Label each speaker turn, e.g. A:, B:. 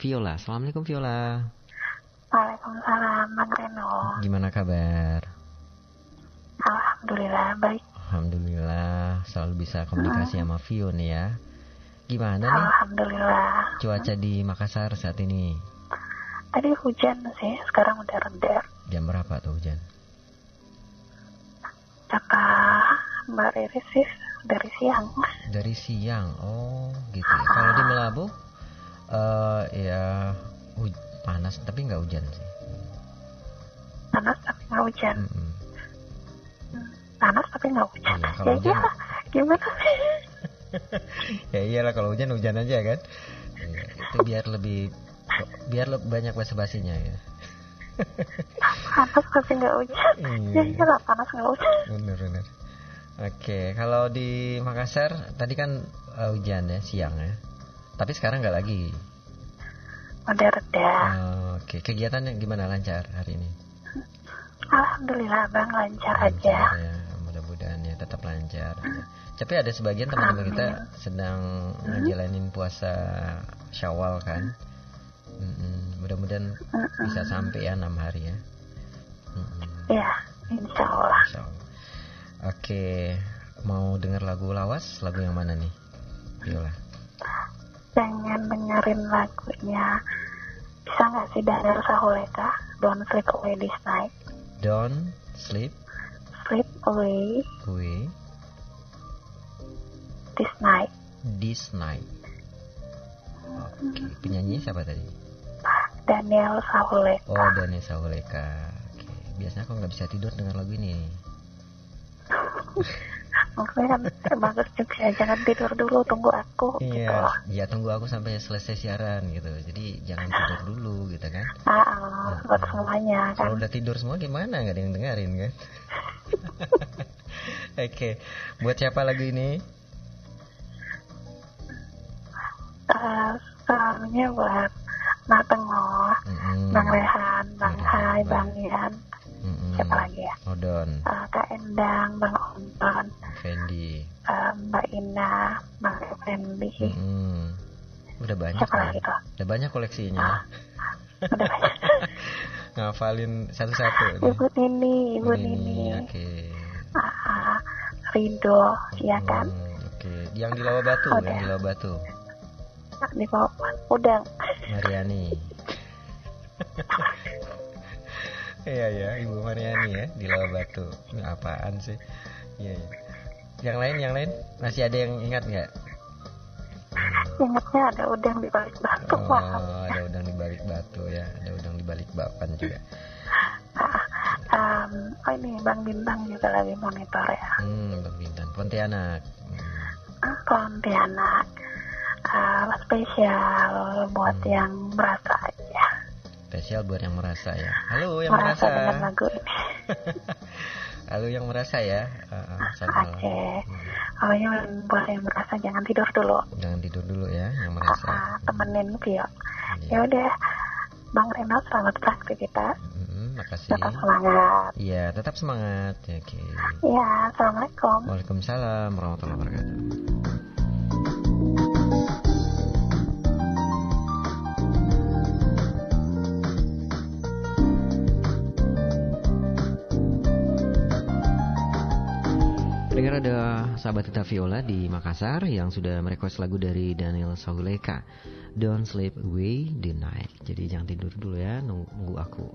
A: Viola. Assalamualaikum Viola.
B: Waalaikumsalam, Mas Reno.
A: Gimana kabar?
B: Alhamdulillah, baik.
A: Alhamdulillah selalu bisa komunikasi sama Vio nih ya. Gimana nih
B: Alhamdulillah.
A: cuaca di Makassar saat ini?
B: Tadi hujan sih, sekarang udah reda.
A: Jam berapa tuh hujan?
B: Kata Mbak Riri sih dari siang.
A: Dari siang. Oh, gitu ya. Kalau di Melabu eh ya huj- panas tapi nggak hujan sih.
B: Panas tapi nggak hujan.
A: Mm-mm.
B: Panas tapi nggak hujan.
A: Hmm. Iya, kalau
B: Ya
A: hujan-
B: iyalah, gimana sih?
A: ya iyalah kalau hujan hujan aja kan. Iya, itu biar lebih biar lebih banyak basa-basinya ya.
B: Panas tapi nggak hujan.
A: Iya.
B: Ya iyalah, panas nggak hujan.
A: Bener bener. Oke, kalau di Makassar tadi kan eh, hujan ya siang ya. Tapi sekarang nggak lagi.
B: Udah reda.
A: Eh, Oke, kegiatannya gimana lancar hari ini?
B: Alhamdulillah, Bang lancar aja.
A: Lancar ya, mudah-mudahan ya tetap lancar. Tapi ada sebagian teman-teman kita sedang ngejalanin puasa Syawal kan. Mm-mm, Mudah-mudahan bisa sampai ya 6 hari ya. Mm-mm,
B: Ya, insya Allah.
A: insya Allah. Oke, mau dengar lagu lawas? Lagu yang mana nih? Yola.
B: Pengen dengerin lagunya. Bisa nggak sih Daniel Sahuleka? Don't sleep away this night.
A: Don't sleep
B: Sleep away
A: away
B: this night.
A: this night. Oke, penyanyi siapa tadi?
B: Daniel Sahuleka.
A: Oh, Danesa Huleka. Oke, biasanya aku nggak bisa tidur dengar lagu ini.
B: Maksudnya kan termasuk juga ya. jangan tidur dulu tunggu aku gitu.
A: Iya, ya tunggu aku sampai selesai siaran gitu. Jadi jangan tidur dulu gitu kan.
B: Ah, ah, buat semuanya kan.
A: Kalau udah tidur semua gimana? Nggak ada yang dengerin kan? Oke, buat siapa lagu ini?
B: Eh, Soalnya buat Natengo,
A: Mm-mm.
B: Bang Rehan, Bang
A: Hmm. Iya,
B: Hai,
A: Bang.
B: Bang Ian,
A: Mm-mm. Oh,
B: siapa lagi ya?
A: Odon,
B: Eh, Kak Endang, Bang Onton,
A: Fendi.
B: eh, Mbak Ina, Bang Effendi,
A: Hmm. Mm-mm. Udah banyak
B: Iya. siapa
A: kan?
B: lagi tuh?
A: Udah banyak
B: Ah.
A: koleksinya.
B: Udah banyak.
A: Ngafalin satu-satu. nih.
B: Ibu Nini, Ibu
A: Ini,
B: Nini,
A: Oke.
B: Ah, ah, Rido, ya kan? Oh, iya.
A: Hmm, Oke, yang di Lawa Batu,
B: Udah.
A: yang di Lawa Batu,
B: Di bawah udang.
A: Hmm. Mariani. Iya ya, Ibu Mariani ya di Lawa Batu. Ini apaan sih? Iya. iya. Yang lain, yang lain masih ada yang ingat nggak?
B: Ingatnya ada udang di balik batu.
A: Oh,
B: Wah,
A: ada udang di balik batu ya, ada udang di balik papan juga.
B: Ah, um, oh ini Bang Bintang juga lagi monitor ya.
A: Hmm, Bang Bintang, Pontianak. Hmm,
B: Ah, Pontianak Ah, spesial buat
A: Hmm.
B: yang merasa aja.
A: Spesial buat yang merasa ya. Halo yang
B: merasa
A: merasa.
B: dengan lagu ini.
A: Halo yang merasa ya. Uh,
B: Ah, Oke. Oh ini buat yang merasa jangan tidur dulu.
A: Jangan tidur dulu ya, yang
B: Ah,
A: merasa.
B: ah, temenin Vio.
A: Iya.
B: Ya udah, Bang Renal selamat beraktivitas.
A: Mm, makasih.
B: Tetap semangat.
A: Iya, tetap semangat. Ya, Oke.
B: Ya, assalamualaikum.
A: Waalaikumsalam warahmatullahi wabarakatuh. Pendengar ada sahabat kita Viola di Makassar yang sudah merequest lagu dari Daniel Sauleka Don't Sleep Away the Night Jadi jangan tidur dulu ya, nunggu, nunggu aku